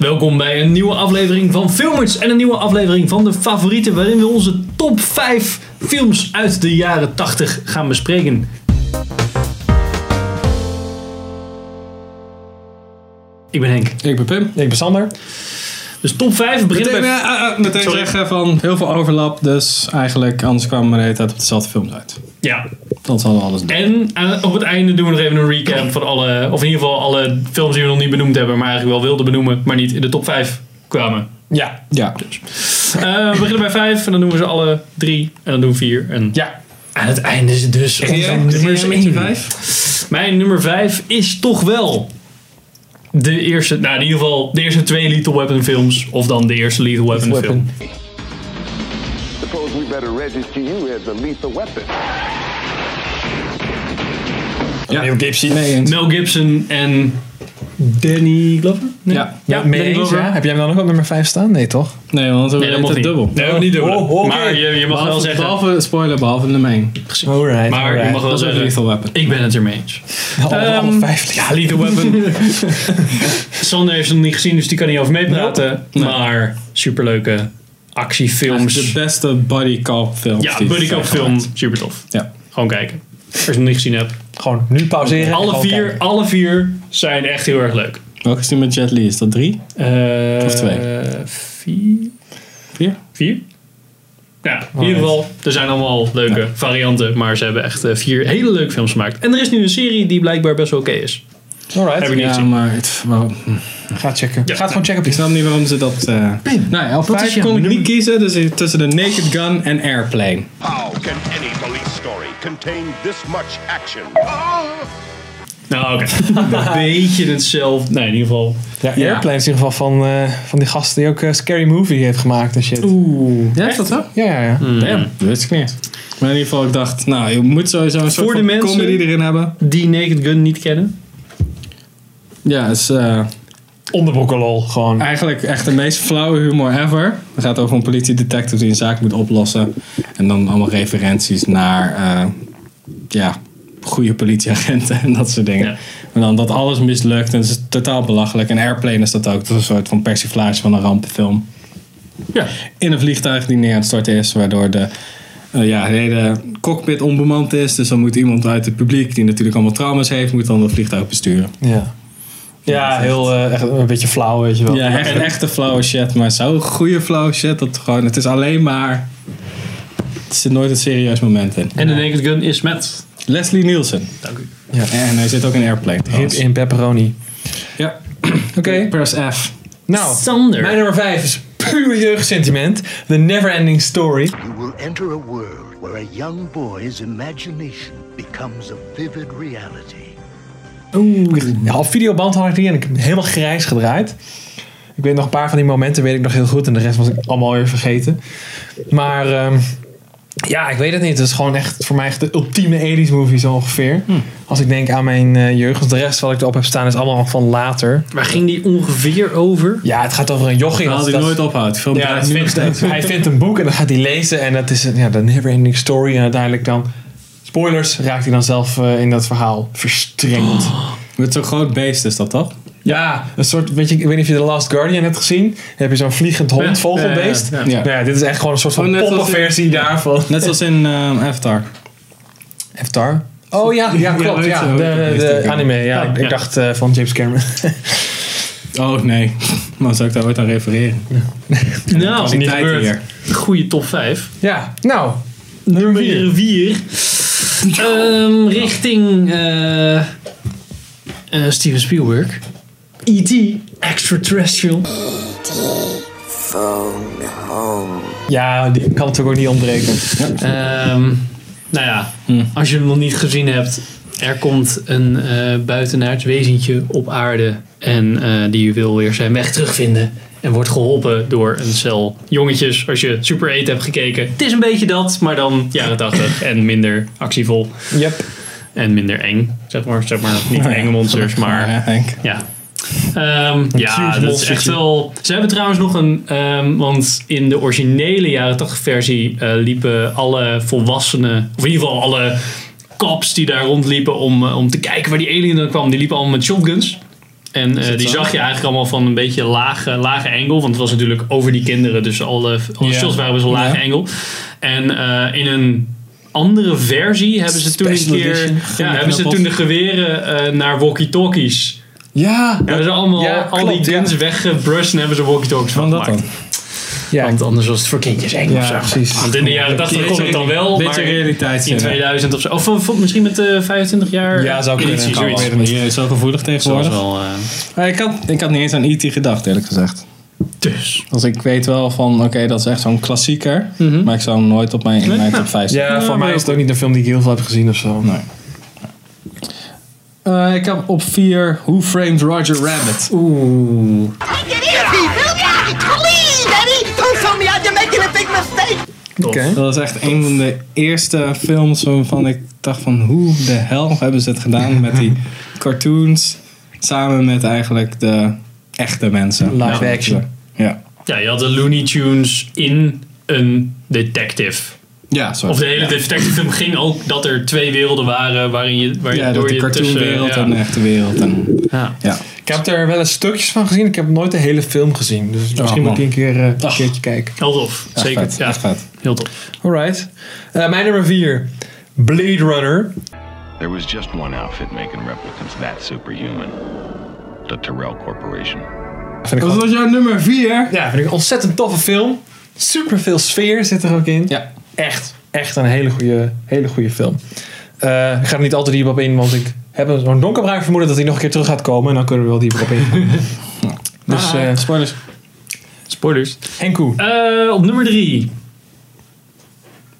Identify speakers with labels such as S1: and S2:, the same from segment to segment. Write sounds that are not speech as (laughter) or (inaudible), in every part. S1: Welkom bij een nieuwe aflevering van Filmers en een nieuwe aflevering van de favorieten waarin we onze top 5 films uit de jaren 80 gaan bespreken. Ik ben Henk.
S2: Ik ben Pim. Ik ben Sander.
S1: Dus top 5 we beginnen
S2: Meteen,
S1: bij...
S2: eh, eh, eh, meteen
S1: Sorry.
S2: zeggen van heel veel overlap, dus eigenlijk anders kwamen we de hele tijd op dezelfde films uit.
S1: Ja.
S2: Dat hadden we alles doen.
S1: En eh, op het einde doen we nog even een recap van alle, of in ieder geval alle films die we nog niet benoemd hebben, maar eigenlijk wel wilden benoemen, maar niet in de top 5 kwamen.
S2: Ja. Ja.
S1: Eh, we beginnen bij 5 en dan doen we ze alle drie en dan doen we 4 en
S2: Ja.
S1: Aan het einde is het dus onze nummers
S3: eh,
S1: één. Mijn nummer 5 is toch wel de eerste, nou in ieder geval de eerste twee Lethal Weapon films. Of dan de eerste Lethal Weapon,
S2: Lethal
S1: film.
S4: Suppose we better register you as a lethal weapon.
S2: Ja. Neil Gibson. Nee, eens.
S1: Mel Gibson en Danny Glover? Nee?
S2: Ja.
S1: Danny
S3: mee eens,
S1: Glover.
S3: ja? Heb jij hem dan ook op nummer 5 staan? Nee, toch?
S2: Nee, want we
S1: Nee, dat
S2: weten
S1: mocht
S2: het
S1: niet.
S2: dubbel.
S1: Nee, ook niet dubbel.
S3: Oh, oké.
S1: Maar je, je mag wel
S2: Behalve-
S1: zeggen...
S2: Behalve, spoiler, behalve nummer 1.
S3: Alright.
S1: Maar je mag wel
S2: Dat is ook
S1: zeggen...
S2: Lethal Weapon.
S1: Ik ben het ermee eens.
S3: Alle, Oh, alle
S1: Ehm,
S3: vijf.
S1: Ja, Lethal Weapon. Sander heeft hem niet gezien, dus die kan niet over meepraten. Maar superleuke actiefilms.
S2: De beste buddy cop film.
S1: Ja, buddy cop film. Super tof.
S2: Ja.
S1: Gewoon kijken. Als je hem niet gezien hebt.
S3: Gewoon nu pauzeren. en
S1: Alle
S3: gewoon
S1: vier,
S3: kijken.
S1: alle vier zijn echt heel erg leuk.
S2: Welke is die met Jet Li? Is dat drie?
S1: Eh,
S2: Of twee?
S1: Vier?
S2: Vier?
S1: Vier? Ja, in ieder geval, er zijn allemaal leuke varianten. Maar ze hebben echt eh, vier hele leuke films gemaakt. En er is nu een serie die blijkbaar best wel oké is. Heb ik
S3: Alright.
S1: niet
S2: Ja,
S1: gezien.
S2: maar het, waarom?
S3: Ga checken.
S1: Ja.
S3: Ga het gewoon checken op
S2: Ik
S3: die
S2: snap niet waarom ze dat... eh nou ja, op
S1: wat is
S2: vijf
S1: jouw
S2: kon ik
S1: nummer-
S2: niet kiezen, dus ik- tussen de Naked Gun en Airplane.
S4: How can any police story contain this much action?
S1: Nou, oké. (laughs) een beetje hetzelfde. Nee, in ieder geval.
S3: Ja, Airplane is in ieder geval van, eh, van die gast die ook eh, Scary Movie heeft gemaakt en shit.
S1: Oeh.
S2: Ja, is dat zo?
S3: Ja, ja, ja.
S2: Ja,
S1: Mm.
S2: dat wist ik niet. Maar in ieder geval, ik dacht, nou, je moet sowieso een soort
S1: Voor de
S2: van
S1: mensen-
S2: comedy erin hebben.
S1: Die Naked Gun niet kennen.
S2: Ja, het is eh,
S3: Onderbroekenlol, gewoon.
S2: eigenlijk echt de meest flauwe humor ever. Het gaat over een politiedetective die een zaak moet oplossen. En dan allemaal referenties naar, eh, ja, goede politieagenten en dat soort dingen.
S1: Ja.
S2: En dan dat alles mislukt en het is totaal belachelijk. En Airplane is dat ook. Dat is een soort van persiflage van een rampenfilm.
S1: Ja.
S2: in een vliegtuig die neer aan het storten is, waardoor de, eh, ja, de hele cockpit onbemand is. Dus dan moet iemand uit het publiek, die natuurlijk allemaal trauma's heeft, moet dan dat vliegtuig besturen.
S3: Ja. Ja, heel eh, echt een beetje flauw, weet je wel.
S2: Ja,
S3: (laughs)
S2: echt, echt een flauwe shit, maar zo'n goede flauwe shit. Dat gewoon, het is alleen maar... Er zit nooit een serieus moment in.
S1: En de Naked Gun is met.
S2: Leslie Nielsen.
S1: Dank u.
S3: Ja.
S2: En hij zit ook in Airplane
S3: Hip
S2: trouwens.
S3: in pepperoni. (clears throat)
S2: Ja. Oké. Press F.
S3: Nou,
S1: Sander.
S3: mijn nummer 5 is puur jeugdsentiment. The Neverending Story.
S5: You will enter a world where a young boy's imagination becomes a vivid reality.
S3: Ja, op videoband had ik die en ik heb hem helemaal grijs gedraaid. Ik weet nog een paar van die momenten weet ik nog heel goed en de rest was ik allemaal weer vergeten. Maar ehm, ja, ik weet het niet. Het is gewoon echt voor mij echt de ultieme 80s movie zo ongeveer. Als ik denk aan mijn eh, jeugd, want de rest wat ik erop heb staan is allemaal van later.
S1: Waar ging die ongeveer over?
S3: Ja, het gaat over een jochie.
S2: Haal
S3: dat-
S2: die
S3: dat- (laughs)
S2: nooit ophoudt. Film
S3: ja,
S2: draait
S3: dat
S2: nu nog
S3: vindt-
S2: steeds.
S3: hij vindt een boek en dan gaat hij lezen en dat is een- ja, de never ending story. En uiteindelijk dan, spoilers, raakt hij dan zelf eh, in dat verhaal verstrengeld.
S2: Met zo'n groot beest is dat toch?
S3: Ja, een soort, weet je, ik weet niet of je The Last Guardian hebt gezien. Dan heb je zo'n vliegend hond,
S1: Ja,
S3: vogelbeest.
S1: ja,
S3: Ja,
S1: ja,
S2: ja.
S3: Nou ja, dit is echt gewoon een soort
S2: Oh,
S3: van
S2: net als in-
S3: poppenversie daarvan.
S2: Net zoals in ehm, Avatar.
S3: Avatar. Oh ja, ja
S2: Ja,
S3: klopt.
S2: weet
S3: Ja,
S2: je,
S3: de,
S2: weet je,
S3: de
S2: weet je.
S3: anime. Ja,
S1: Ja,
S3: ik
S1: ja.
S3: dacht eh, van James Cameron. (laughs)
S2: Oh nee. (laughs) Maar zou ik daar ooit aan refereren?
S1: Nou,
S2: Als
S1: als
S2: ik
S1: niet
S2: tijd
S1: gebeurd.
S2: hier.
S1: Goeie top 5.
S3: ja, nou.
S1: Nummer 4. Ehm, richting eh, eh, Steven Spielberg. E.T. Extraterrestrial.
S3: Ja, die kan natuurlijk ook niet ontbreken.
S1: Ehm, nou ja, als je hem nog niet gezien hebt. Er komt een eh buitenaards wezentje op aarde. En eh, die wil weer zijn weg terugvinden. En wordt geholpen door een cel jongetjes. Als je Super 8 hebt gekeken. Het is een beetje dat, maar dan jaren 80. En minder actievol.
S3: Yep.
S1: En minder eng, zeg maar. Zeg maar
S2: Nou
S1: niet (laughs) enge
S2: (laughs)
S1: monsters, maar
S2: Ja, Henk.
S1: ja. Ehm, ja,
S3: cute
S1: dat is
S3: monstertje.
S1: echt wel... Ze hebben trouwens nog een... ehm, want in de originele jaren 80 versie eh, liepen alle volwassenen... Of in ieder geval alle cops die daar rondliepen om, eh, om te kijken waar die alien dan kwam. Die liepen allemaal met shotguns. En eh, die zag je eigenlijk allemaal van een beetje lage, lage angle. Want het was natuurlijk over die kinderen. Dus alle, alle
S2: Ja.
S1: shots waren best wel
S2: Ja.
S1: lage angle. En eh, in een andere versie hebben ze toen een
S2: Special
S1: keer...
S2: edition.
S1: Ja, hebben ze toen de geweren eh, naar walkie-talkies.
S2: Ja,
S1: Hebben ze allemaal
S3: Ja,
S1: al
S3: klopt,
S1: die
S3: ja.
S1: guns weggebrust en hebben ze walkie-talkies van
S2: van dat
S1: gemaakt.
S2: dan.
S3: Ja,
S1: Want anders was het voor kindjes eng of zo.
S3: ja precies.
S1: Want in de jaren 80 kon het dan wel,
S2: Beetje
S1: maar
S2: realiteit.
S1: in 2000 of zo. Of, of misschien met eh 25 jaar
S3: Ja, zou kunnen.
S1: editie,
S3: Kan wel.
S1: zoiets.
S3: zoiets.
S2: Je is zo gevoelig
S1: Dat was
S2: tegenwoordig.
S1: wel... eh,
S2: Maar ik, had, ik had niet eens aan E.T. gedacht, eerlijk gezegd.
S1: dus.
S2: Dus ik weet wel van, oké, dat is echt zo'n klassieker. Maar ik zou hem nooit op mijn, in mijn top Eh, 5
S3: Ja, voor mij is het ook niet een film die ik heel veel heb gezien of zo.
S2: Nee. Eh, ik heb op 4 Who Framed Roger Rabbit.
S1: Oeh.
S6: Make it easy, Billy! Please, Eddie! Don't tell me you're making a big mistake!
S3: Oké.
S2: Dat is echt een van de eerste films waarvan ik dacht van hoe de hel hebben ze het gedaan met (laughs) die cartoons. Samen met eigenlijk de echte mensen.
S3: Live
S2: Ja.
S3: action.
S2: Ja.
S1: Ja, je had de Looney Tunes in een detective.
S2: Ja, sorry.
S1: Of de hele detective film ging ook dat er twee werelden waren waarin je, waarin
S2: ja,
S1: door
S2: dat de
S1: je
S2: cartoonwereld
S1: tussen,
S2: en eh, de echte wereld. En,
S1: ja.
S2: ja.
S3: Ik heb er wel eens stukjes van gezien. Ik heb nooit de hele film gezien. Dus misschien
S2: man.
S3: moet ik een keer eh, een keertje kijken.
S1: Heel tof,
S2: Echt
S1: zeker.
S2: vet,
S1: ja,
S2: echt vet.
S1: heel tof.
S3: Alright. Eh, mijn nummer 4. Blade Runner.
S7: There was just one outfit making replicants that superhuman the Terrell Corporation.
S3: Vind ik
S2: Dat was jouw nummer 4.
S3: Ja, vind ik een ontzettend toffe film. Super veel sfeer zit er ook in.
S2: Ja.
S3: Echt, echt een hele goede, hele goede film. Eh, ik ga er niet al te diep op in, want ik heb een- zo'n donkerbruin vermoeden dat hij nog een keer terug gaat komen. En dan kunnen we wel dieper op
S2: (laughs)
S3: in. dus eh
S2: Nou, spoilers.
S1: Spoilers.
S3: Henku.
S1: Eh, op nummer drie.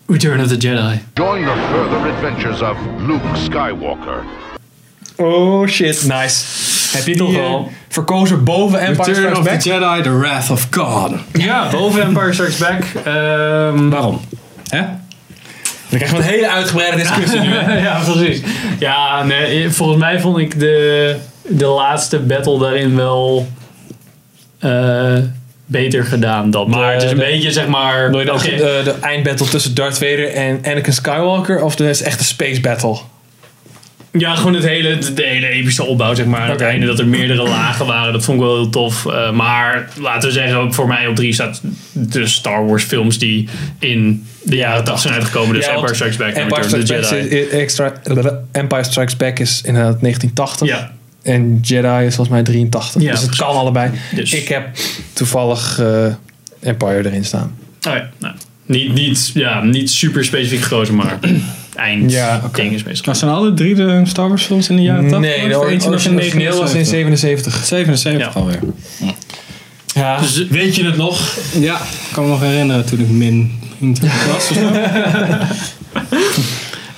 S1: Return of the Jedi.
S4: Join the further adventures of Luke Skywalker.
S3: Oh shit. Nice. Heb je toch
S1: Toch
S3: wel
S1: wel.
S3: verkozen boven Empire
S2: Return
S3: Strikes
S2: of the
S3: Back?
S2: Jedi, The Wrath of God.
S1: Ja, boven Empire Strikes Back. Ehm,
S2: Waarom? Hè?
S3: Dan krijgen we een hele uitgebreide discussie nu.
S1: (laughs) ja, precies. Ja, nee, eh, volgens mij vond ik de, de laatste battle daarin wel eh, beter gedaan dan. Maar het is een
S3: de- eh,
S1: beetje, zeg maar...
S3: Wil je dan
S1: oké,
S3: de, de eindbattle tussen Darth Vader en Anakin Skywalker? Of de echte space battle?
S1: Ja, gewoon het hele, de, hele epische opbouw, zeg maar. Aan het
S3: Oké.
S1: einde dat er meerdere lagen waren, dat vond ik wel heel tof. Eh, maar laten we zeggen, ook voor mij op drie staat de Star Wars films die in de jaren 80 zijn uitgekomen. Dus
S3: Ja, want
S1: Empire Strikes Back en
S3: Empire
S1: Return of
S3: Strikes,
S1: the
S3: Back
S1: Jedi.
S3: is, extra, Empire Strikes Back is inderdaad 1980.
S1: Ja.
S3: En Jedi is volgens mij 83.
S1: Ja,
S3: dus het
S1: precies.
S3: kan allebei.
S1: Dus.
S3: Ik heb toevallig eh, Empire erin staan.
S1: Oh ja, nou, niet, niet, ja, niet super specifiek gekozen, (clears throat) maar eind
S3: Ja, oké.
S1: ding is meestal.
S2: Nou, zijn alle drie de Star Wars films in de jaren 80?
S3: Hmm. nee, de
S2: Of eentje nog in
S3: origineel was in 77.
S2: 77
S1: Ja.
S2: alweer.
S3: Ja.
S1: Dus, weet je het nog?
S2: Ja, ik kan me nog herinneren toen ik min was.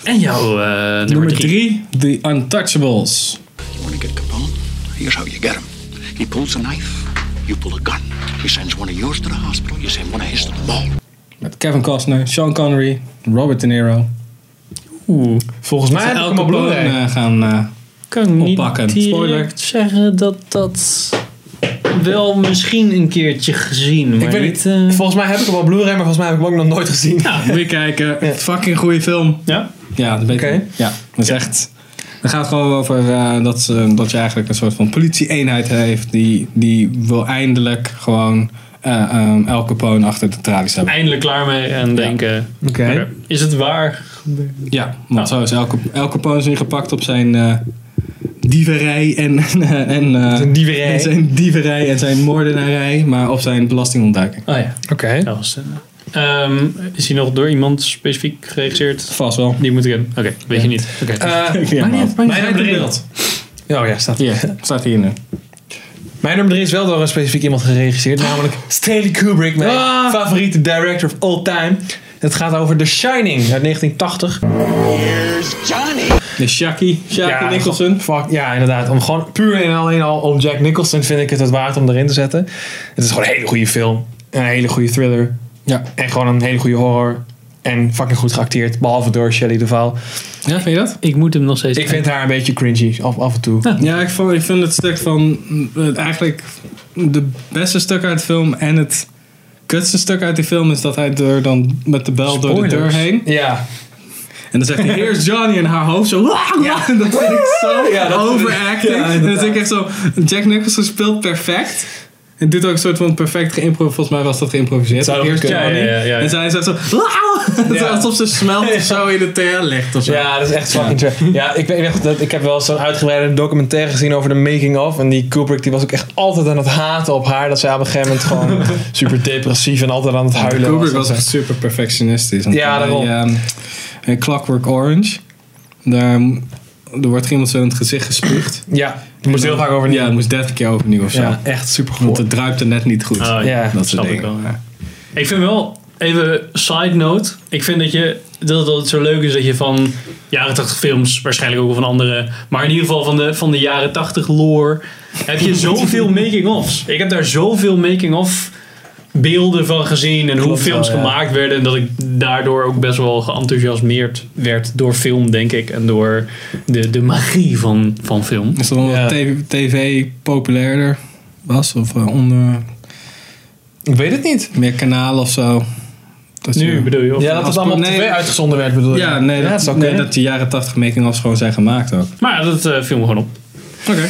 S1: En jouw eh, nummer,
S2: Nummer
S1: drie.
S2: 3, The Untouchables.
S8: You want to get Capone? Here's how you get him. He pulls a knife, you pull a gun. He sends one of yours to the hospital, you send one of his to the mall.
S2: Met Kevin Costner, Sean Connery, Robert De Niro.
S3: Volgens mij heb ik hem op
S2: Capone
S3: Blu-ray.
S2: eh, gaan... eh,
S1: kan niet
S2: oppakken.
S1: direct
S2: Spoiler.
S1: zeggen dat dat wel misschien een keertje gezien, maar
S3: Ik weet
S1: niet...
S3: niet.
S1: eh,
S3: Volgens mij heb ik hem op Blu-ray, maar volgens mij heb ik hem ook nog nooit gezien.
S1: Ja.
S2: (laughs) moet je kijken. Fucking goede film.
S1: Ja?
S2: Ja, dat weet ik.
S3: Oké.
S2: Ja, dat is echt... Het gaat gewoon over eh, dat, ze, dat je eigenlijk een soort van politie-eenheid heeft... die, die wil eindelijk gewoon eh ehm El Capone achter de tralies hebben.
S1: Eindelijk klaar mee en denken...
S3: Oké.
S1: oké, Is het waar?
S2: Ja, want zo is elke, elke poos ingepakt op zijn eh, dieverij en, (laughs) en, en, eh,
S3: Zijn dieverij.
S2: en zijn dieverij en zijn moordenarij, maar op zijn belastingontduiking.
S1: Oh ja.
S3: Oké.
S1: Dat was, eh, ehm, is hij nog door iemand specifiek geregisseerd?
S2: Vast wel.
S1: Die moet ik hebben. Oké, weet je niet. Oké.
S2: (laughs)
S3: Eh,
S2: Ja, man.
S3: mijn nummer drie. Oh ja, staat hier.
S2: Hier, staat hier nu.
S3: Mijn nummer 3 is wel door een specifiek iemand geregisseerd, namelijk
S2: (laughs)
S3: Stanley Kubrick, mijn
S2: Ah.
S3: favoriete director of all time. Het gaat over The Shining uit 1980.
S2: De Shaki, Shaki Nicholson.
S3: Fuck, ja, inderdaad. Om gewoon puur en alleen al om Jack Nicholson vind ik het het waard om erin te zetten. Het is gewoon een hele goede film. Een hele goede thriller.
S2: Ja.
S3: En gewoon een hele goede horror. En fucking goed geacteerd, behalve door Shelley Duvall.
S2: Ja, vind je dat?
S1: ik moet hem nog steeds...
S3: Ik vind haar een beetje cringy, af, af en toe.
S2: Ja, ik, vond, ik vind het stuk van eh, eigenlijk de beste stuk uit de film en het kutste stuk uit die film is dat hij er dan met de bel door de deur
S1: Spoilers.
S2: heen.
S3: Ja,
S2: En En dan zegt hij, here's Johnny in haar hoofd zo. Ja. (laughs) Dat vind ik zo
S3: Ja, dat vind ik-
S2: overacting.
S3: ja,
S2: en dan
S3: inderdaad.
S2: denk ik echt zo, Jack Nicholson speelt perfect. En doet ook een soort van perfect geïmproviseerd. Volgens mij was dat geïmproviseerd.
S3: Zou ook
S2: Here's
S3: kunnen,
S2: Johnny.
S1: ja, ja, ja, ja.
S2: En zij zegt zo, (laughs)
S3: Ja.
S2: alsof ze smelt of zo in de TL ligt of zo.
S3: Ja, dat is echt fucking trash. (laughs) Ja, ik weet echt dat ik heb wel eens zo'n uitgebreide documentaire gezien over de making of en die Kubrick die was ook echt altijd aan het haten op haar dat zij op een gegeven moment gewoon (laughs) super depressief en altijd aan het huilen
S2: Kubrick
S3: was.
S2: was echt super perfectionistisch. Want
S3: Ja,
S2: bij,
S3: daarom.
S2: ehm, in Clockwork Orange, daar, mm, er wordt iemand zo in het gezicht gespuugd.
S3: Ja, daar moest heel vaak over
S2: Ja, het moest 30 keer overnieuw of zo.
S3: Ja, echt super
S2: Want
S3: goed.
S2: het druipte net niet goed.
S1: Ah,
S3: Ja,
S2: dat soort
S1: snap
S2: dingen.
S1: ik wel. ja. Ik vind wel, even side note. Ik vind dat, je, dat, dat het zo leuk is dat je van jaren 80 films, waarschijnlijk ook wel van andere, maar in ieder geval van de, van de jaren 80 lore, heb je
S3: (laughs)
S1: zoveel making-ofs. Ik heb daar zoveel making-of beelden van gezien en hoe
S3: Klopt
S1: films
S3: wel, ja.
S1: gemaakt werden. En dat ik daardoor ook best wel geenthousiasmeerd werd door film, denk ik. En door de, de magie van, van film.
S2: Is dat omdat
S3: Ja.
S2: tv, tv populairder was? Of eh, onder
S3: Ik weet het niet.
S2: meer kanalen of zo? Dat
S1: Nu
S2: je-
S1: bedoel je? of-
S3: Ja, dat
S2: Als-
S3: het allemaal op
S2: nee.
S3: tv uitgezonden werd bedoel je?
S2: Ja, nee, dat,
S3: dat zou
S2: nee,
S3: kunnen.
S2: dat die jaren 80 making-ofs gewoon zijn gemaakt ook.
S1: Maar ja, dat eh, viel me gewoon op.
S2: Oké.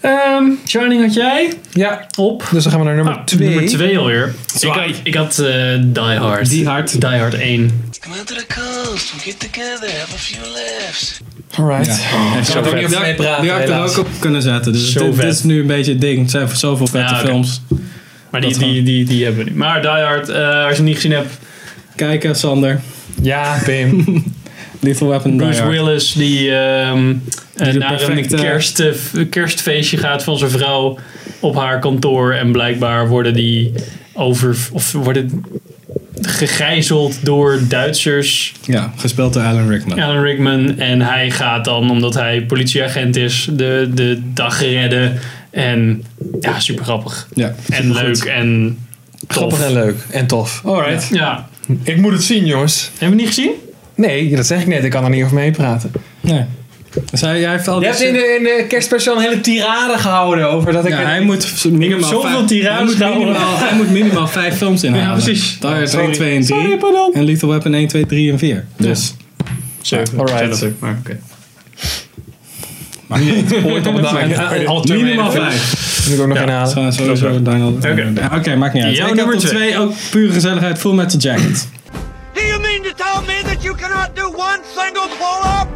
S1: Ehm, Shining had jij
S3: Ja,
S1: op.
S3: dus dan gaan we naar nummer
S1: Ah,
S3: 2.
S1: Nummer 2 alweer. Ik
S2: Zwaar.
S1: had, ik had eh, Die Hard.
S2: Die Hard.
S1: Die Hard 1.
S9: Come out to the coast, we'll get together, have a few laughs.
S3: Alright.
S2: Daar
S3: ook niet over mee praten,
S2: Die had ik er
S3: helaas.
S2: ook op kunnen zetten. Dus
S1: Zo
S2: dit, dit
S1: vet.
S2: is nu een beetje het ding. Het zijn zoveel vette
S1: Ja, oké.
S2: films.
S1: Maar die,
S2: Dat
S1: die,
S2: gewoon.
S1: die, die hebben we nu. Maar Die Hard, eh, als je het niet gezien hebt,
S2: Kijken, Sander.
S3: Ja, Pim.
S2: Little Weapon Die
S1: Bruce
S2: Hard.
S1: Willis die, ehm, eh,
S2: de
S1: naar een
S2: perfecte-
S1: kerst, eh, kerstfeestje gaat van zijn vrouw op haar kantoor. En blijkbaar worden die over, of worden gegijzeld door Duitsers.
S2: Ja, gespeeld door Alan Rickman.
S1: Alan Rickman. En hij gaat dan, omdat hij politieagent is, de, de dag redden. En ja, super grappig.
S2: Ja.
S1: En leuk en tof.
S3: Grappig en leuk. En tof. Alright.
S1: Ja.
S3: Ik moet het zien, jongens.
S1: Hebben we niet gezien?
S3: Nee, dat zeg ik net. Ik kan er niet over meepraten.
S2: Nee. Dus hij, hij heeft al
S3: Je
S2: die
S3: hebt in de, in de kerstspecial een hele tirade gehouden over dat ik...
S2: Ja, hij moet minimaal
S1: zoveel
S2: vijf-
S1: tirades
S2: hij moet
S1: gehouden.
S2: minimaal, hij moet minimaal vijf films inhalen.
S1: Ja, precies.
S2: Daar is
S3: Sorry.
S2: 1, 2 en 3.
S3: Sorry, pardon.
S2: en Lethal Weapon 1, 2, 3 en 4. Dus
S1: Zeven.
S3: Alright.
S1: Zelf, Maar oké.
S3: ooit op het dak.
S2: minimaal eh, vijf.
S3: Moet ik ook nog inhalen.
S2: Zo- Sowieso Daniel. Ja, Oké, maakt niet uit.
S1: Jouw
S2: ik heb
S1: nummer
S2: op
S1: twee.
S2: twee ook pure gezelligheid. Full Metal Jacket.
S9: Do you mean to tell me that you cannot do one single pull up?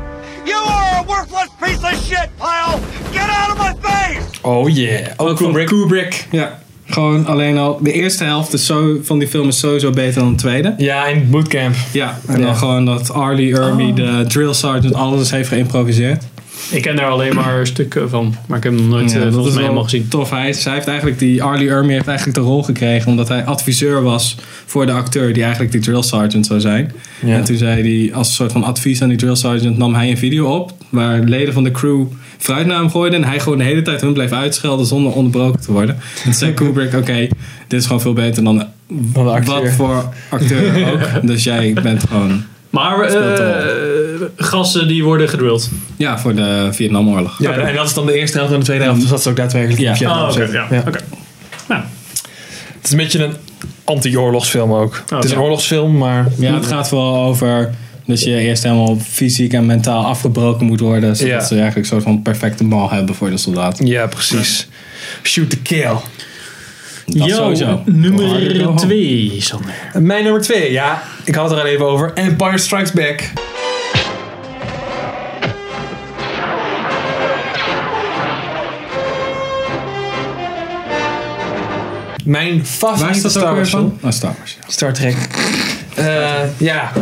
S9: You are a worthless piece of shit, pal! Get out of my face!
S3: Oh yeah.
S2: Ook Kubrick. Kubrick. Ja. Gewoon alleen al. De eerste helft is zo, van die film is sowieso beter dan de tweede.
S3: Ja, in bootcamp.
S2: Ja. Oh. En
S3: Ja.
S2: dan gewoon dat Arlie Ermy, de drill sergeant, alles heeft geïmproviseerd.
S1: Ik ken daar alleen maar stukken van, maar ik heb hem nog nooit
S2: Ja,
S1: eh,
S2: dat
S1: volgens
S2: is
S1: mij
S2: wel
S1: helemaal gezien.
S2: tof. Hij, is- hij heeft eigenlijk die Arlie Ermy heeft eigenlijk de rol gekregen omdat hij adviseur was voor de acteur die eigenlijk die drill sergeant zou zijn. En toen zei hij als een soort van advies aan die drill sergeant nam hij een video op waar leden van de crew fruit naar hem gooiden en hij gewoon de hele tijd hun bleef uitschelden zonder onderbroken te worden. En toen zei Kubrick, oké, dit is gewoon veel beter dan
S3: Van de acteur.
S2: wat voor acteur ook. Dus jij bent gewoon
S1: Maar eh,
S2: Speelt wel.
S1: eh, gasten die worden gedrilled.
S2: ja voor de Vietnamoorlog.
S3: Ja, en dat is dan de eerste helft en de tweede helft. Dus dat is ook daadwerkelijk
S2: Ja.
S3: in Vietnam
S1: Oh, oké.
S3: zitten.
S1: ja.
S3: Ja.
S1: oké. Nou,
S3: Het is een beetje een anti-oorlogsfilm ook. het is
S1: Oh, ja.
S3: een oorlogsfilm, maar...
S2: Ja, het gaat wel over dat je eerst helemaal fysiek en mentaal afgebroken moet worden. Zodat
S3: Ja.
S2: ze eigenlijk een soort van perfecte bal hebben voor de soldaat.
S3: Ja, precies. Shoot the kill.
S2: Dat
S1: yo,
S2: sowieso.
S1: nummer 2, Sander.
S3: Mijn nummer twee, ja. Ik had het er al even over. Empire Strikes Back. Mijn
S2: Waar is
S3: favoriete
S2: dat ook
S3: Star
S2: weer
S3: Wars film.
S2: van? Oh, Star Wars. ja.
S3: Star Trek. Eh, ja.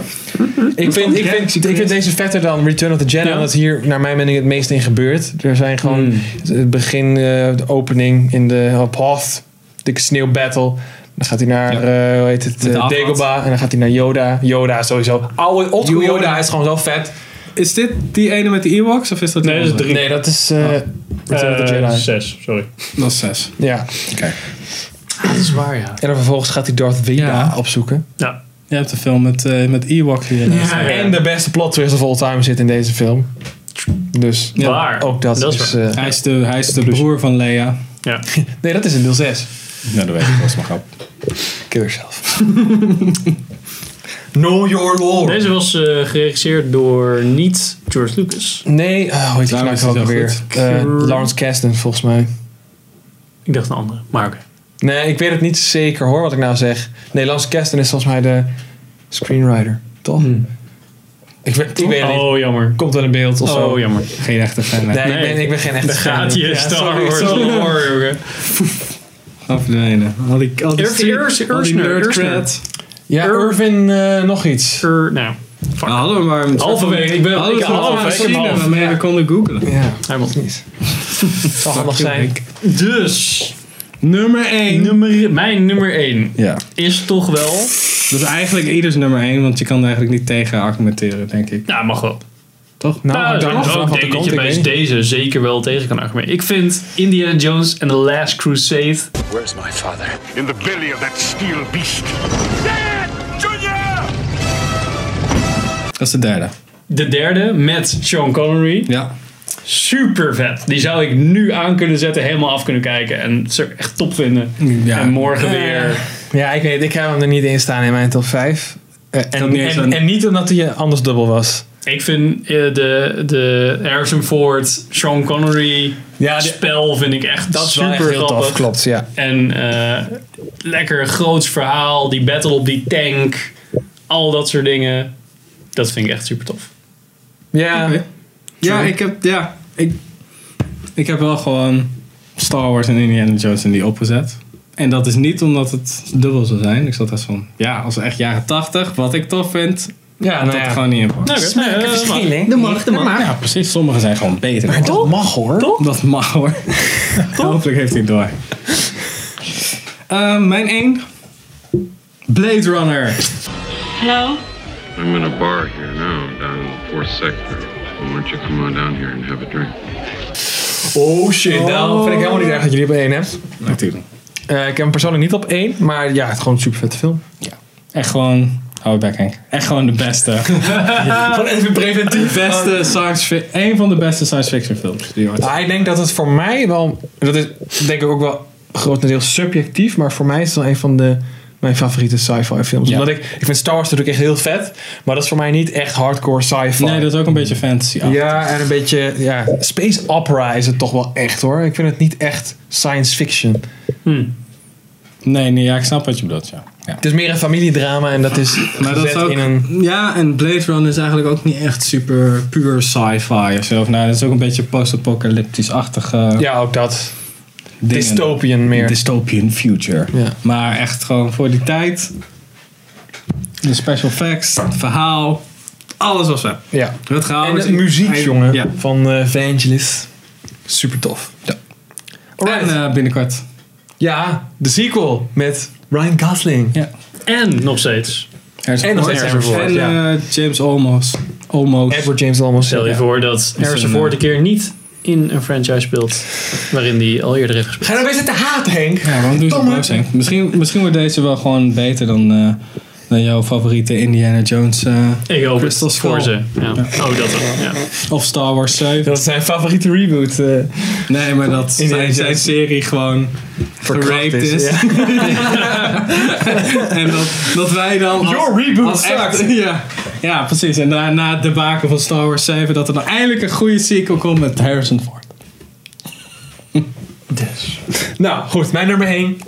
S3: Ik vind, ik, vind, ik vind deze vetter dan Return of the Jedi.
S1: Ja.
S3: Omdat hier naar mijn mening het meest in gebeurt. Er zijn gewoon het begin, eh, de opening in de op Hoth. De sneeuwbattle. Dan gaat hij naar,
S2: Ja.
S3: eh, hoe heet het,
S2: de
S3: eh,
S2: afstand.
S3: Dagobah. En dan gaat hij naar Yoda. Yoda is sowieso. Oude, old Yoda.
S2: Yoda.
S3: is gewoon zo vet.
S2: Is dit die ene met de Ewoks of is dat die
S1: Nee, dat is
S2: andere?
S1: drie.
S3: Nee, dat is eh, Return of the
S1: Eh,
S3: Jedi.
S1: zes, sorry.
S2: Dat is zes.
S3: Ja.
S2: Oké.
S1: Dat is waar, ja.
S3: En dan vervolgens gaat hij Darth Vader
S2: Ja.
S3: opzoeken.
S1: Ja,
S2: Je hebt een film met, eh met Ewok hier.
S1: Ja, ja.
S3: En de beste plot twist of all time zit in deze film. Dus
S2: Ja,
S1: waar.
S3: ook dat,
S1: dat
S3: is...
S1: waar.
S3: eh,
S2: Hij is de, hij is de broer van Leia.
S1: ja.
S3: Nee, dat is in deel 6.
S2: Nou, dat weet ik. Dat is maar grap.
S3: Kill yourself. (laughs) Know your lore.
S1: Deze was eh, geregisseerd door niet George Lucas.
S3: Nee, eh, hoe heet die
S2: Daarom
S3: nou
S2: is die
S3: ook
S2: zo
S3: weer?
S2: goed.
S3: Eh, Lawrence Kasdan, volgens mij.
S1: Ik dacht een andere, maar oké.
S3: Nee, ik weet het niet zeker hoor, wat ik nou zeg. Nee, Lawrence Kasdan is volgens mij de screenwriter, toch? Ik, weet, ik weet het niet.
S1: Oh, jammer.
S3: Komt wel in beeld of zo.
S1: Oh, jammer.
S2: Geen echte fan.
S3: Nee,
S2: Nee.
S1: Nee.
S3: Ik, ben, ik ben geen echte
S1: Daar gaat
S3: fan.
S1: je
S3: Ja,
S1: Star
S3: sorry,
S1: Wars
S3: sorry.
S1: lore, jongen.
S2: Afdwenen. eh, Al die, al die,
S1: Ur-
S2: street-
S1: Ur-
S2: al die
S1: Ursner,
S2: nerd
S1: Ursner.
S2: cred.
S3: Ja,
S1: Ur-
S3: Irvin eh, nog iets.
S1: Er- nou,
S2: We hadden we maar een
S1: halverwege. Ik ben
S2: Hadden
S1: ik
S2: we
S1: ben
S2: allemaal
S1: half,
S2: een
S1: hè. Ik ben
S2: machine
S1: half.
S2: waarmee we konden googlen.
S3: Ja,
S1: Hij moet niet.
S3: zal handig zijn.
S1: Dus,
S2: Nummer 1.
S1: nummer, mijn nummer 1
S2: Ja.
S1: is toch wel...
S2: Dat is eigenlijk ieders nummer 1, want je kan er eigenlijk niet tegen argumenteren, denk ik.
S1: Nou, mag wel.
S2: Toch?
S1: Nou,
S3: hangt er
S1: ik
S3: vanaf wat
S1: denk
S3: er
S1: dat
S3: komt,
S1: je
S3: ik
S1: bij
S3: weet niet.
S1: deze zeker wel tegen kan argumenteren. Ik vind Indiana Jones and the Last Crusade...
S8: Where's my father?
S5: In the belly of that steel beast.
S2: Dat is de derde.
S1: De derde met Sean Connery.
S3: Ah,
S2: Ja.
S1: Super vet. Die zou ik nu aan kunnen zetten, helemaal af kunnen kijken. En het zou ik echt top vinden.
S2: Ja.
S1: En morgen weer.
S3: Ja, ik weet, ik heb hem er niet in staan in mijn top 5. en,
S2: niet eens
S3: en,
S2: aan-
S3: en niet omdat hij eh, anders dubbel was.
S1: Ik vind eh, de, de Harrison Ford, Sean Connery
S3: Ja, die-
S1: spel vind ik echt
S3: Dat is wel
S1: super
S3: echt heel
S1: grappig.
S3: tof, klopt. Ja.
S1: En eh, lekker groots verhaal. Die battle op die tank. Al dat soort dingen. Dat vind ik echt super tof.
S3: Ja,
S2: Oké. Ja, ik heb, ja, ik, ik heb wel gewoon Star Wars en Indiana Jones in die opgezet. En dat is niet omdat het dubbel zou zijn. Ik zat echt van, ja, als echt jaren 80, wat ik tof vind,
S3: ja
S2: dat
S3: nou ja.
S2: gewoon niet in past.
S1: Oké, nee, eh, dat mag.
S3: De macht, de
S2: Ja, precies. Sommige zijn gewoon beter.
S3: Dat mag hoor.
S2: Dat mag hoor. Hopelijk heeft hij het door.
S3: Oh,
S2: Eh, mijn 1. Blade Runner.
S10: Hello?
S7: I'm in a bar here now, down in the fourth sector. Why don't you come on down here and have a drink?
S3: Oh shit, nou vind ik helemaal niet erg dat jullie op één hebt.
S2: Natuurlijk.
S3: Eh, ik heb hem persoonlijk niet op één, maar ja, het is gewoon een super vette film.
S2: Echt gewoon, hou het back Henk. Echt gewoon de beste.
S3: Gewoon even preventief.
S2: beste science fi- Een van de beste science fiction films die ooit.
S3: ik denk dat het voor mij wel, dat is denk ik ook wel grotendeels subjectief, maar voor mij is het wel een van de, mijn favoriete sci-fi films.
S2: Ja.
S3: Omdat ik, ik vind Star Wars natuurlijk echt heel vet, maar dat is voor mij niet echt hardcore sci-fi.
S2: Nee, dat is ook een beetje fantasy. Ah, Ja.
S3: Ja, en een beetje, ja, space opera is het toch wel echt hoor. Ik vind het niet echt science fiction.
S2: Nee, nee, ja, ik snap wat je bedoelt. Ja. Ja.
S3: Het is meer een familiedrama en dat is
S2: Maar dat is
S3: gezet
S2: ook,
S3: in een...
S2: ja, en Blade Runner is eigenlijk ook niet echt super puur sci-fi of zo. Of Nou, dat is ook een beetje post-apocalyptisch-achtige
S3: Ja, ook dat.
S2: dingen.
S3: Dystopian meer.
S2: dystopian future.
S3: Ja.
S2: Maar echt gewoon voor die tijd. De special effects, het verhaal, alles was vet.
S3: ja.
S2: Het verhaal
S3: En
S2: is-
S3: de muziek,
S2: Oh, dus hij-
S3: jongen,
S2: Ja.
S3: van eh Vangelis. Super tof. Ja.
S2: En eh, binnenkort.
S3: ja, de sequel met Ryan Gosling.
S2: Ja.
S1: En nog steeds.
S3: En nog steeds Harrison Ford,
S2: En
S3: ja.
S2: eh, James Olmos. Olmos.
S3: Edward James Olmos.
S1: Stel je
S3: Ja.
S1: voor dat Harrison
S2: een,
S1: Ford
S2: eh,
S1: een keer niet in een franchise speelt. Waarin hij al eerder heeft gespeeld.
S3: Ga je nou weer zitten haat, Henk?
S2: Ja, waarom doe je zo
S3: Domme.
S2: boos, Henk? Misschien, misschien wordt deze wel gewoon beter dan, eh, dan jouw favoriete Indiana Jones eh,
S1: Ik hoop
S2: Crystal
S1: het
S2: Skull.
S1: voor ze. Ja. Oh, dat wel. Ja.
S2: of Star Wars 7.
S3: Dat is zijn favoriete reboot. eh
S2: Nee, maar dat
S3: Indiana
S2: zijn, zijn
S3: Jones.
S2: serie gewoon
S3: verkracht
S2: geraped is.
S3: Ja.
S2: En dat, dat wij dan. Als,
S3: Your reboot
S2: als echt-
S3: sucked.
S2: (laughs) ja, ja, precies. En daarna de baken van Star Wars 7, dat er dan eindelijk een goede sequel komt met Harrison Ford.
S3: Nou, goed, mijn nummer 1.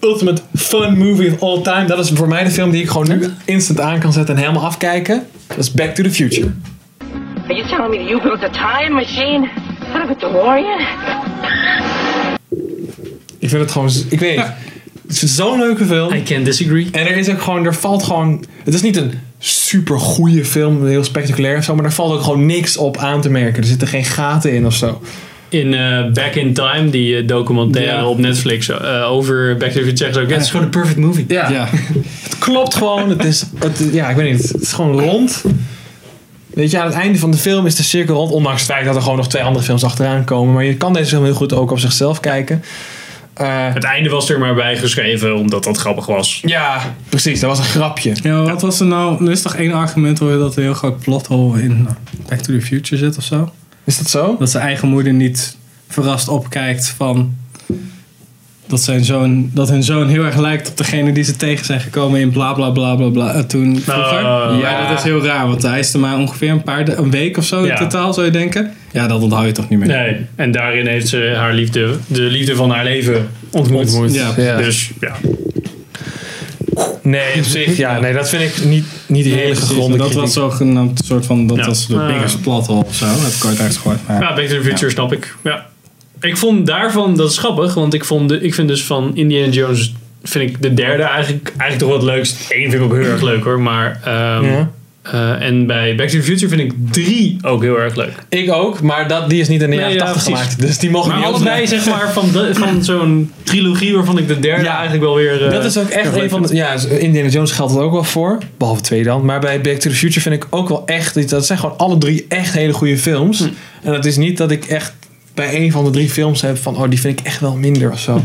S3: Ultimate fun movie of all time. Dat is voor mij de film die ik gewoon nu instant aan kan zetten en helemaal afkijken. Dat is Back to the Future.
S10: Are you telling me that you built a time machine out of a DeLorean?
S3: Ik vind het gewoon, z- ik weet, het is zo'n leuke film.
S1: I can't disagree.
S3: En er is ook gewoon, er valt gewoon, het is niet een super goede film, heel spectaculair of zo, maar er valt ook gewoon niks op aan te merken. Er zitten geen gaten in of zo.
S1: In eh, Back in Time, die eh, documentaire
S2: Ja.
S1: op Netflix eh, over Back to the Future, zeggen ze ook, "Ja, het is gewoon de perfect movie.
S3: Ja,
S2: Ja.
S3: (laughs) het klopt gewoon. Het is, het, ja, ik weet niet, het is gewoon rond. Weet je, aan het einde van de film is de cirkel rond, ondanks het feit dat er gewoon nog twee andere films achteraan komen. Maar je kan deze film heel goed ook op zichzelf kijken. Eh,
S1: Het einde was er maar bij geschreven, omdat dat grappig was.
S3: ja, precies, dat was een grapje.
S2: Ja, maar wat was er nou? Er is toch één argument hoor je dat er een heel groot plothole in uh, Back to the Future zit of zo?
S3: Is dat zo?
S2: Dat zijn eigen moeder niet verrast opkijkt van. dat, zijn zoon, dat hun zoon heel erg lijkt op degene die ze tegen zijn gekomen in bla bla bla bla bla eh, toen
S1: Oh,
S2: vroeger. ja,
S3: Oh, ja.
S2: dat is heel raar, want hij is er maar ongeveer een paar da- een week of zo
S1: Ja.
S2: in totaal, zou je denken. Ja, dat onthoud je toch niet meer.
S1: Nee, en daarin heeft ze haar liefde, de liefde van haar leven ontmoet.
S2: Ontmoet, ja. Ja.
S1: Dus ja.
S3: Nee, op zich, ja, nee, dat vind ik niet, niet
S2: Nee,
S3: hele
S2: precies,
S3: gegronde
S2: maar Dat was
S3: kritiek.
S2: zogenaamd een soort van, dat
S1: Ja.
S2: was de
S1: Ah.
S2: vingers plat al of zo, heb ik ooit uitgehoord. maar-
S1: Ja, Back to the Future snap ik. Ja. Ik vond daarvan, dat is grappig, want ik, vond de, ik vind dus van Indiana Jones, vind ik de derde eigenlijk, eigenlijk toch wel het leukst. Eén vind ik ook heel erg leuk hoor, maar... ehm,
S3: Ja.
S1: eh, en bij Back to the Future vind ik drie ook heel erg leuk.
S3: Ik ook, maar dat, die is niet in de
S1: Nee,
S3: jaren
S1: ja,
S3: 80
S1: precies.
S3: gemaakt. Dus die mogen
S1: Maar
S3: niet
S1: allebei
S3: opdraaien.
S1: zeg maar van, de- van zo'n trilogie waarvan ik de derde
S3: Ja.
S1: eigenlijk wel weer... eh,
S3: Dat is ook
S1: heel
S3: echt
S1: leuk
S3: een van
S1: vind.
S3: de. Ja, dus, eh, Indiana Jones geldt dat ook wel voor. Behalve twee dan. Maar bij Back to the Future vind ik ook wel echt. Dat zijn gewoon alle drie echt hele goede films. En het is niet dat ik echt bij een van de drie films heb van. Oh, die vind ik echt wel minder of zo.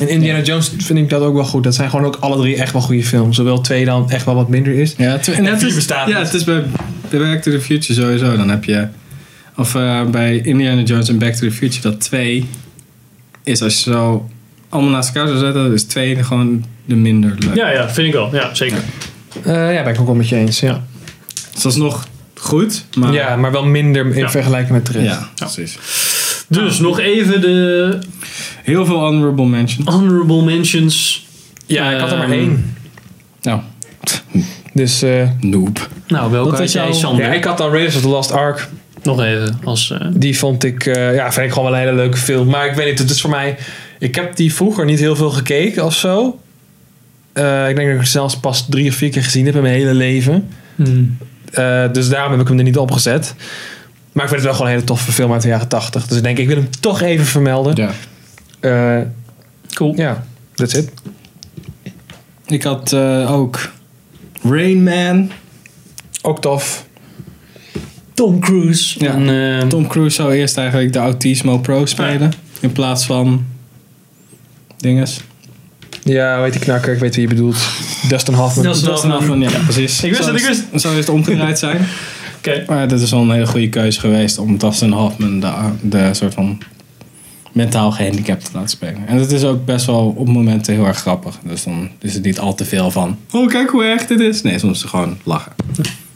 S3: En Indiana Jones vind ik dat ook wel goed. Dat zijn gewoon ook alle drie echt wel goede films. Zowel twee dan echt wel wat minder is.
S2: Ja, het, en
S3: En
S2: het
S3: vier
S2: is,
S3: bestaat
S2: ja,
S3: niet.
S2: het is bij, bij Back to the Future sowieso. Dan heb je, of eh, bij Indiana Jones en Back to the Future, dat twee is als je zo allemaal naast elkaar zou zetten, is twee de- gewoon de minder leuk.
S1: Ja, ja, vind ik wel. Ja, zeker.
S3: Eh, ja, ben ik ook wel met je eens. Ja,
S2: Dus dat is nog goed, maar
S3: ja maar wel minder in
S1: Ja.
S3: vergelijking met de rest.
S2: Ja, precies.
S1: Dus nog even de
S2: Heel veel honorable mention.
S1: honorable mentions.
S3: Ja, ik had er maar
S1: Ehm,
S3: één.
S2: Nou,
S3: Dus eh,
S2: noob.
S1: Nou, welke had jij, Sander?
S3: Ja, ik had dan Raiders of the Lost Ark.
S1: Nog even. Als, eh,
S3: Die vond ik, eh, ja, vind ik gewoon wel een hele leuke film. Maar ik weet niet, het is voor mij... Ik heb die vroeger niet heel veel gekeken of zo. Eh, ik denk dat ik het zelfs pas drie of vier keer gezien heb in mijn hele leven.
S1: hmm.
S3: Eh, dus daarom heb ik hem er niet opgezet. Maar ik vind het wel gewoon een hele toffe film uit de jaren tachtig. Dus ik denk, ik wil hem toch even vermelden.
S2: Ja.
S3: Ja,
S1: Cool.
S3: ja that's it.
S2: Ik had eh, ook Rain Man.
S3: Ook tof.
S1: Tom Cruise.
S2: Ja.
S1: En, eh,
S2: Tom Cruise zou eerst eigenlijk de Autismo Pro spelen. In plaats van dinges.
S3: Ja, weet die knakker, ik weet wie je bedoelt. Dustin Hoffman.
S1: Dat is wel
S2: Dat is nou
S1: vanaf-
S2: van, ja, precies.
S1: Ik wist
S2: Zo
S1: het, ik
S2: is- Zo is het omgedraaid zijn.
S1: (laughs) Oké.
S2: Maar dat is wel een hele goede keuze geweest om Dustin Hoffman de, de soort van mentaal gehandicapt te laten spelen. En dat is ook best wel op momenten heel erg grappig. Dus dan is het niet al te veel van, oh kijk hoe erg dit is. Nee, soms gewoon lachen.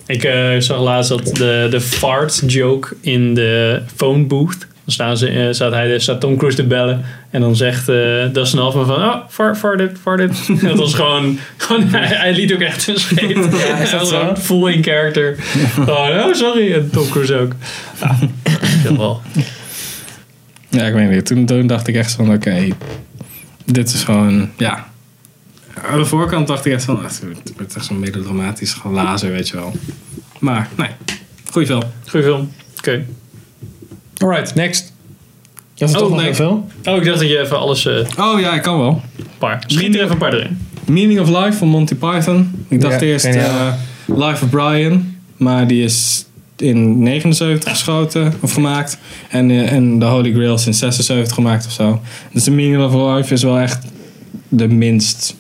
S1: Ik eh, zag laatst dat de, de fart joke in de phone booth. Dan staan ze, eh, staat, hij, staat Tom Cruise te bellen. En dan zegt eh Dustin Hoffman van... Oh, fart, fart it, fart it. (laughs) dat was gewoon... gewoon hij, hij liet ook echt een
S2: (laughs)
S1: scheet. hij was
S3: zo?
S1: gewoon full in character. Gewoon, oh, sorry. En Tom Cruise ook. Ja, dat wel.
S2: Ja, ik weet niet. Toen, toen dacht ik echt van, oké, dit is gewoon, ja. Aan de voorkant dacht ik echt van, het wordt- het wordt echt zo'n melodramatisch glazen, weet je wel. Maar, nee, goeie film.
S1: Goeie film. Oké.
S3: Alright, next. Dat is
S2: Oh,
S3: toch nog
S2: nee.
S3: een film?
S1: Oh, ik dacht dat je even alles... eh
S2: Oh ja, ik kan wel.
S1: paar. Schiet er even een paar erin.
S2: Meaning of Life van Monty Python. Ik dacht
S3: Ja,
S2: eerst
S3: geniaal.
S2: eh, Life of Brian, maar die is in 79 geschoten of gemaakt. En, eh, en The Holy Grail is in 76 gemaakt of zo. Dus de Meaning of Life is wel echt de minst,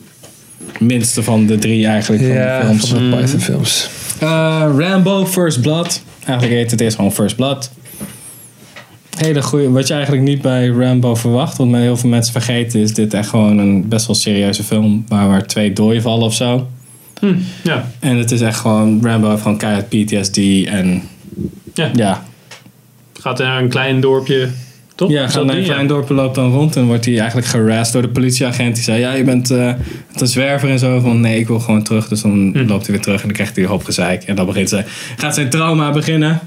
S2: minste van de drie eigenlijk van de
S3: Ja,
S2: films.
S3: van de
S1: Mm.
S3: Python films.
S2: Eh, Rambo First Blood. Eigenlijk heet het eerst gewoon First Blood. Hele goede, wat je eigenlijk niet bij Rambo verwacht, want men- heel veel mensen vergeten, is dit echt gewoon een best wel serieuze film waar, waar twee dooien vallen of zo.
S1: Hm, Ja.
S2: En het is echt gewoon, Rambo heeft gewoon keihard PTSD en
S1: Ja.
S2: ja.
S1: Gaat naar een klein dorpje, toch?
S2: Ja,
S1: Is
S2: gaat
S1: dat
S2: naar een
S1: die?
S2: klein dorp en loopt dan rond en wordt hij eigenlijk harassed door de politieagent. Die zei, ja, je bent eh, een zwerver en zo. Van, nee, ik wil gewoon terug. Dus dan loopt hij weer terug en dan krijgt hij een hoop gezeik. En dan begint zij, gaat zijn trauma beginnen.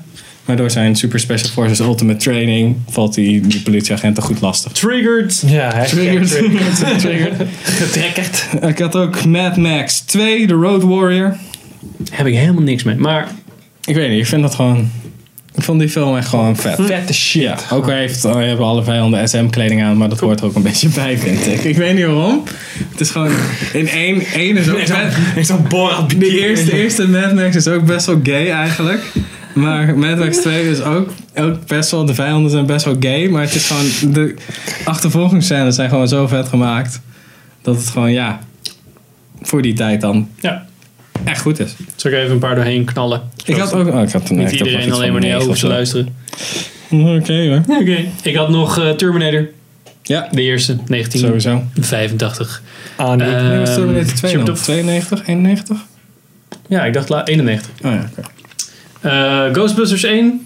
S2: Maar door zijn Super Special Forces Ultimate Training valt hij die politieagenten goed lastig.
S1: Triggered.
S3: Ja, echt.
S2: Triggered.
S3: Getrekkerd.
S2: Ik had ook Mad Max 2, The Road Warrior.
S1: Heb ik helemaal niks mee. Maar
S2: Ik weet niet, ik vind dat gewoon... Ik vond die film echt gewoon vet.
S3: Vette shit.
S2: Ja, ook al heeft, al hebben alle vijanden SM-kleding aan, maar dat hoort er ook een beetje bij, vind ik. Ik weet niet waarom. Het is gewoon in één, één is ook...
S3: Ik zo'n Borat
S2: de eerste, de eerste Mad Max is ook best wel gay eigenlijk. Maar Mad Max 2 is ook, ook best wel... De vijanden zijn best wel gay, maar het is gewoon... De achtervolgingsscènes zijn gewoon zo vet gemaakt. Dat het gewoon, ja... Voor die tijd dan
S1: ja,
S2: echt goed is.
S1: zal ik even een paar doorheen knallen.
S2: Ik had ook... Oh, ik had,
S1: Niet iedereen alleen maar naar jou hoeft te luisteren.
S2: Oké hoor.
S1: Oké. Ik had nog eh, Terminator.
S2: Ja.
S1: De eerste, 1985.
S2: Ah, nee.
S1: Ehm,
S2: nee, was Terminator 2 dan?
S1: 92, 91? Ja, ik dacht la- 91.
S2: Oh ja,
S1: Eh, Ghostbusters 1.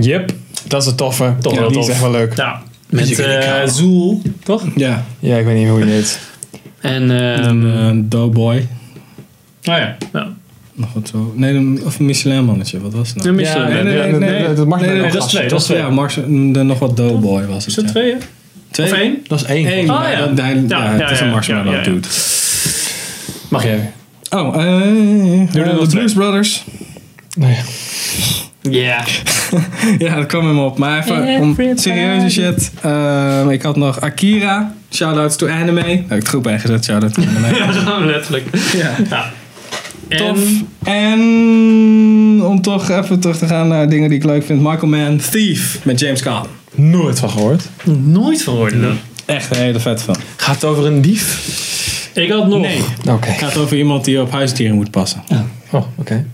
S3: Yep, dat is een toffe.
S1: Toch
S3: Ja,
S1: wel
S3: die
S1: tof.
S3: is echt wel leuk.
S1: Nou, met
S3: Muziek in de
S1: eh
S3: kamer.
S1: Zool, toch?
S2: Ja.
S3: Ja, ik weet niet hoe je heet.
S1: En, ehm
S2: Een eh, Doughboy.
S1: oh ja, nou.
S2: Nog wat zo. Nee, een- of een Michelin-mannetje, wat was het
S1: Ja,
S2: nou?
S1: Michelin,
S2: nee, nee,
S1: ja.
S2: nee,
S1: Nee,
S2: nee,
S1: nee,
S3: dat mag
S1: niet.
S2: dat
S1: Dat
S2: was
S1: is
S2: twee.
S1: twee,
S2: Dat was
S1: dat is
S2: ja, Mars, n- dan nog wat Doughboy was het.
S1: Is dat
S2: ja.
S1: twee?
S2: Twee?
S1: Of één?
S3: Dat is één.
S2: Eén,
S1: Oh,
S2: maar
S1: ja.
S2: dat- hij-
S1: Ja,
S2: ja,
S1: ja,
S2: het is
S1: ja,
S2: een
S1: ja,
S2: marshmallow
S1: ja, ja.
S2: dude.
S1: Mag jij
S2: Oh, eh
S1: er nog
S2: eh, de
S1: twee.
S2: Blues Brothers. (laughs)
S1: weer? (laughs) Ja.
S2: ja, dat kwam hem op. Maar even om serieuze shit. Ehm, ik had nog Akira. Shoutouts to anime. Nou, ik heb het goed bijgezet. Shoutout to anime.
S1: (laughs) Letterlijk.
S2: ja.
S1: Nou.
S2: Tof.
S1: En
S2: En om toch even terug te gaan naar dingen die ik leuk vind. Michael Mann, Thief met James Caan.
S3: Nooit van gehoord.
S1: nooit van worden dan.
S2: Echt een hele vet van.
S3: Gaat het over een dief?
S1: Ik had nog,
S2: Nee.
S3: Oké.
S2: Het gaat over iemand die op huisdieren moet passen.
S3: Oh, oké.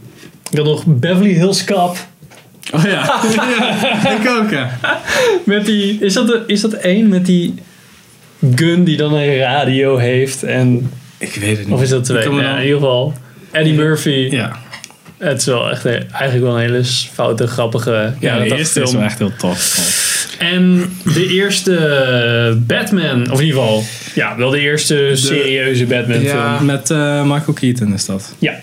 S1: ik had nog Beverly Hills Cop.
S2: Oh ja, Ja, ik ook ja.
S1: Met die, is, dat de, is dat één met die gun die dan een radio heeft? En,
S2: Ik weet het niet.
S1: of is dat twee?
S2: Ik kan me
S1: Ja,
S2: dan-
S1: in ieder geval. Eddie Murphy.
S2: Ja,
S1: Het is wel echt een- eigenlijk wel een hele foute, grappige
S2: ja,
S1: jaren
S2: de
S1: 80
S2: eerste is
S1: film.
S2: wel echt heel tof.
S1: En de eerste eh, Batman, of in ieder geval, ja, wel de eerste serieuze Batman
S2: Ja.
S1: film.
S2: Met eh, Michael Keaton is dat.
S1: Ja,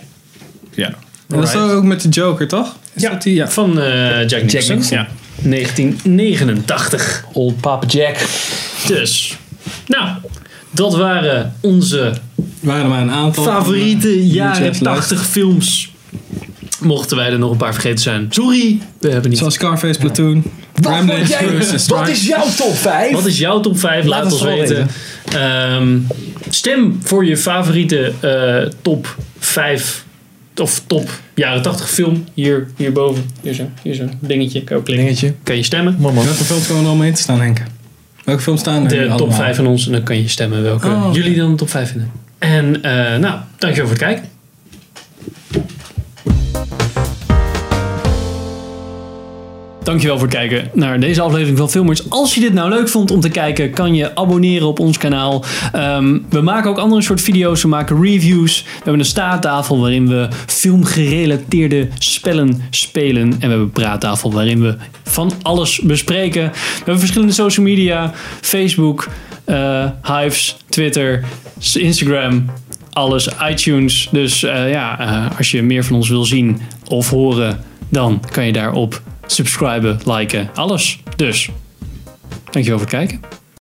S2: Ja. Dat is ook met de Joker, toch? Is
S1: ja,
S2: dat die? Ja.
S1: van eh, Jack Nicholson.
S2: Nicholson.
S1: Ja. 1989.
S3: Old Papa Jack.
S1: Dus, nou, dat waren onze
S2: Waren er maar een aantal. Hm.
S1: favoriete jaren
S2: Jazz lijst.
S1: 80 films. Mochten wij er nog een paar vergeten zijn. Sorry, we hebben niet.
S2: Zoals Scarface, Platoon, Ramblings, Curse,
S3: Wat is jouw top 5?
S1: Wat is jouw top 5? Laat,
S3: Laat
S1: ons
S3: ons wel
S1: weten. Ehm, stem voor je favoriete eh, top 5 of top jaren 80 film. Hier, hierboven. Hier zo, hier zo. Dingetje, kan ook klikken.
S3: dingetje?
S1: Kan je stemmen?
S3: Mama.
S2: Welke films komen er allemaal in te staan, Henk? Welke films staan er
S1: De
S2: nu
S1: top
S2: allemaal?
S1: 5 van ons en dan kan je stemmen welke
S2: Oh, oké.
S1: jullie dan top 5 vinden. En eh nou, dankjewel voor het kijken. Dankjewel voor het kijken naar deze aflevering van Filmers. Als je dit nou leuk vond om te kijken, kan je abonneren op ons kanaal. Ehm, we maken ook andere soort video's. We maken reviews. We hebben een staattafel waarin we filmgerelateerde spellen spelen. En we hebben een praattafel waarin we van alles bespreken. We hebben verschillende social media. Facebook, eh, Hives, Twitter, Instagram alles, iTunes. Dus eh, ja, eh, als je meer van ons wil zien of horen, dan kan je daarop subscriben, liken, alles. Dus, dankjewel voor het kijken.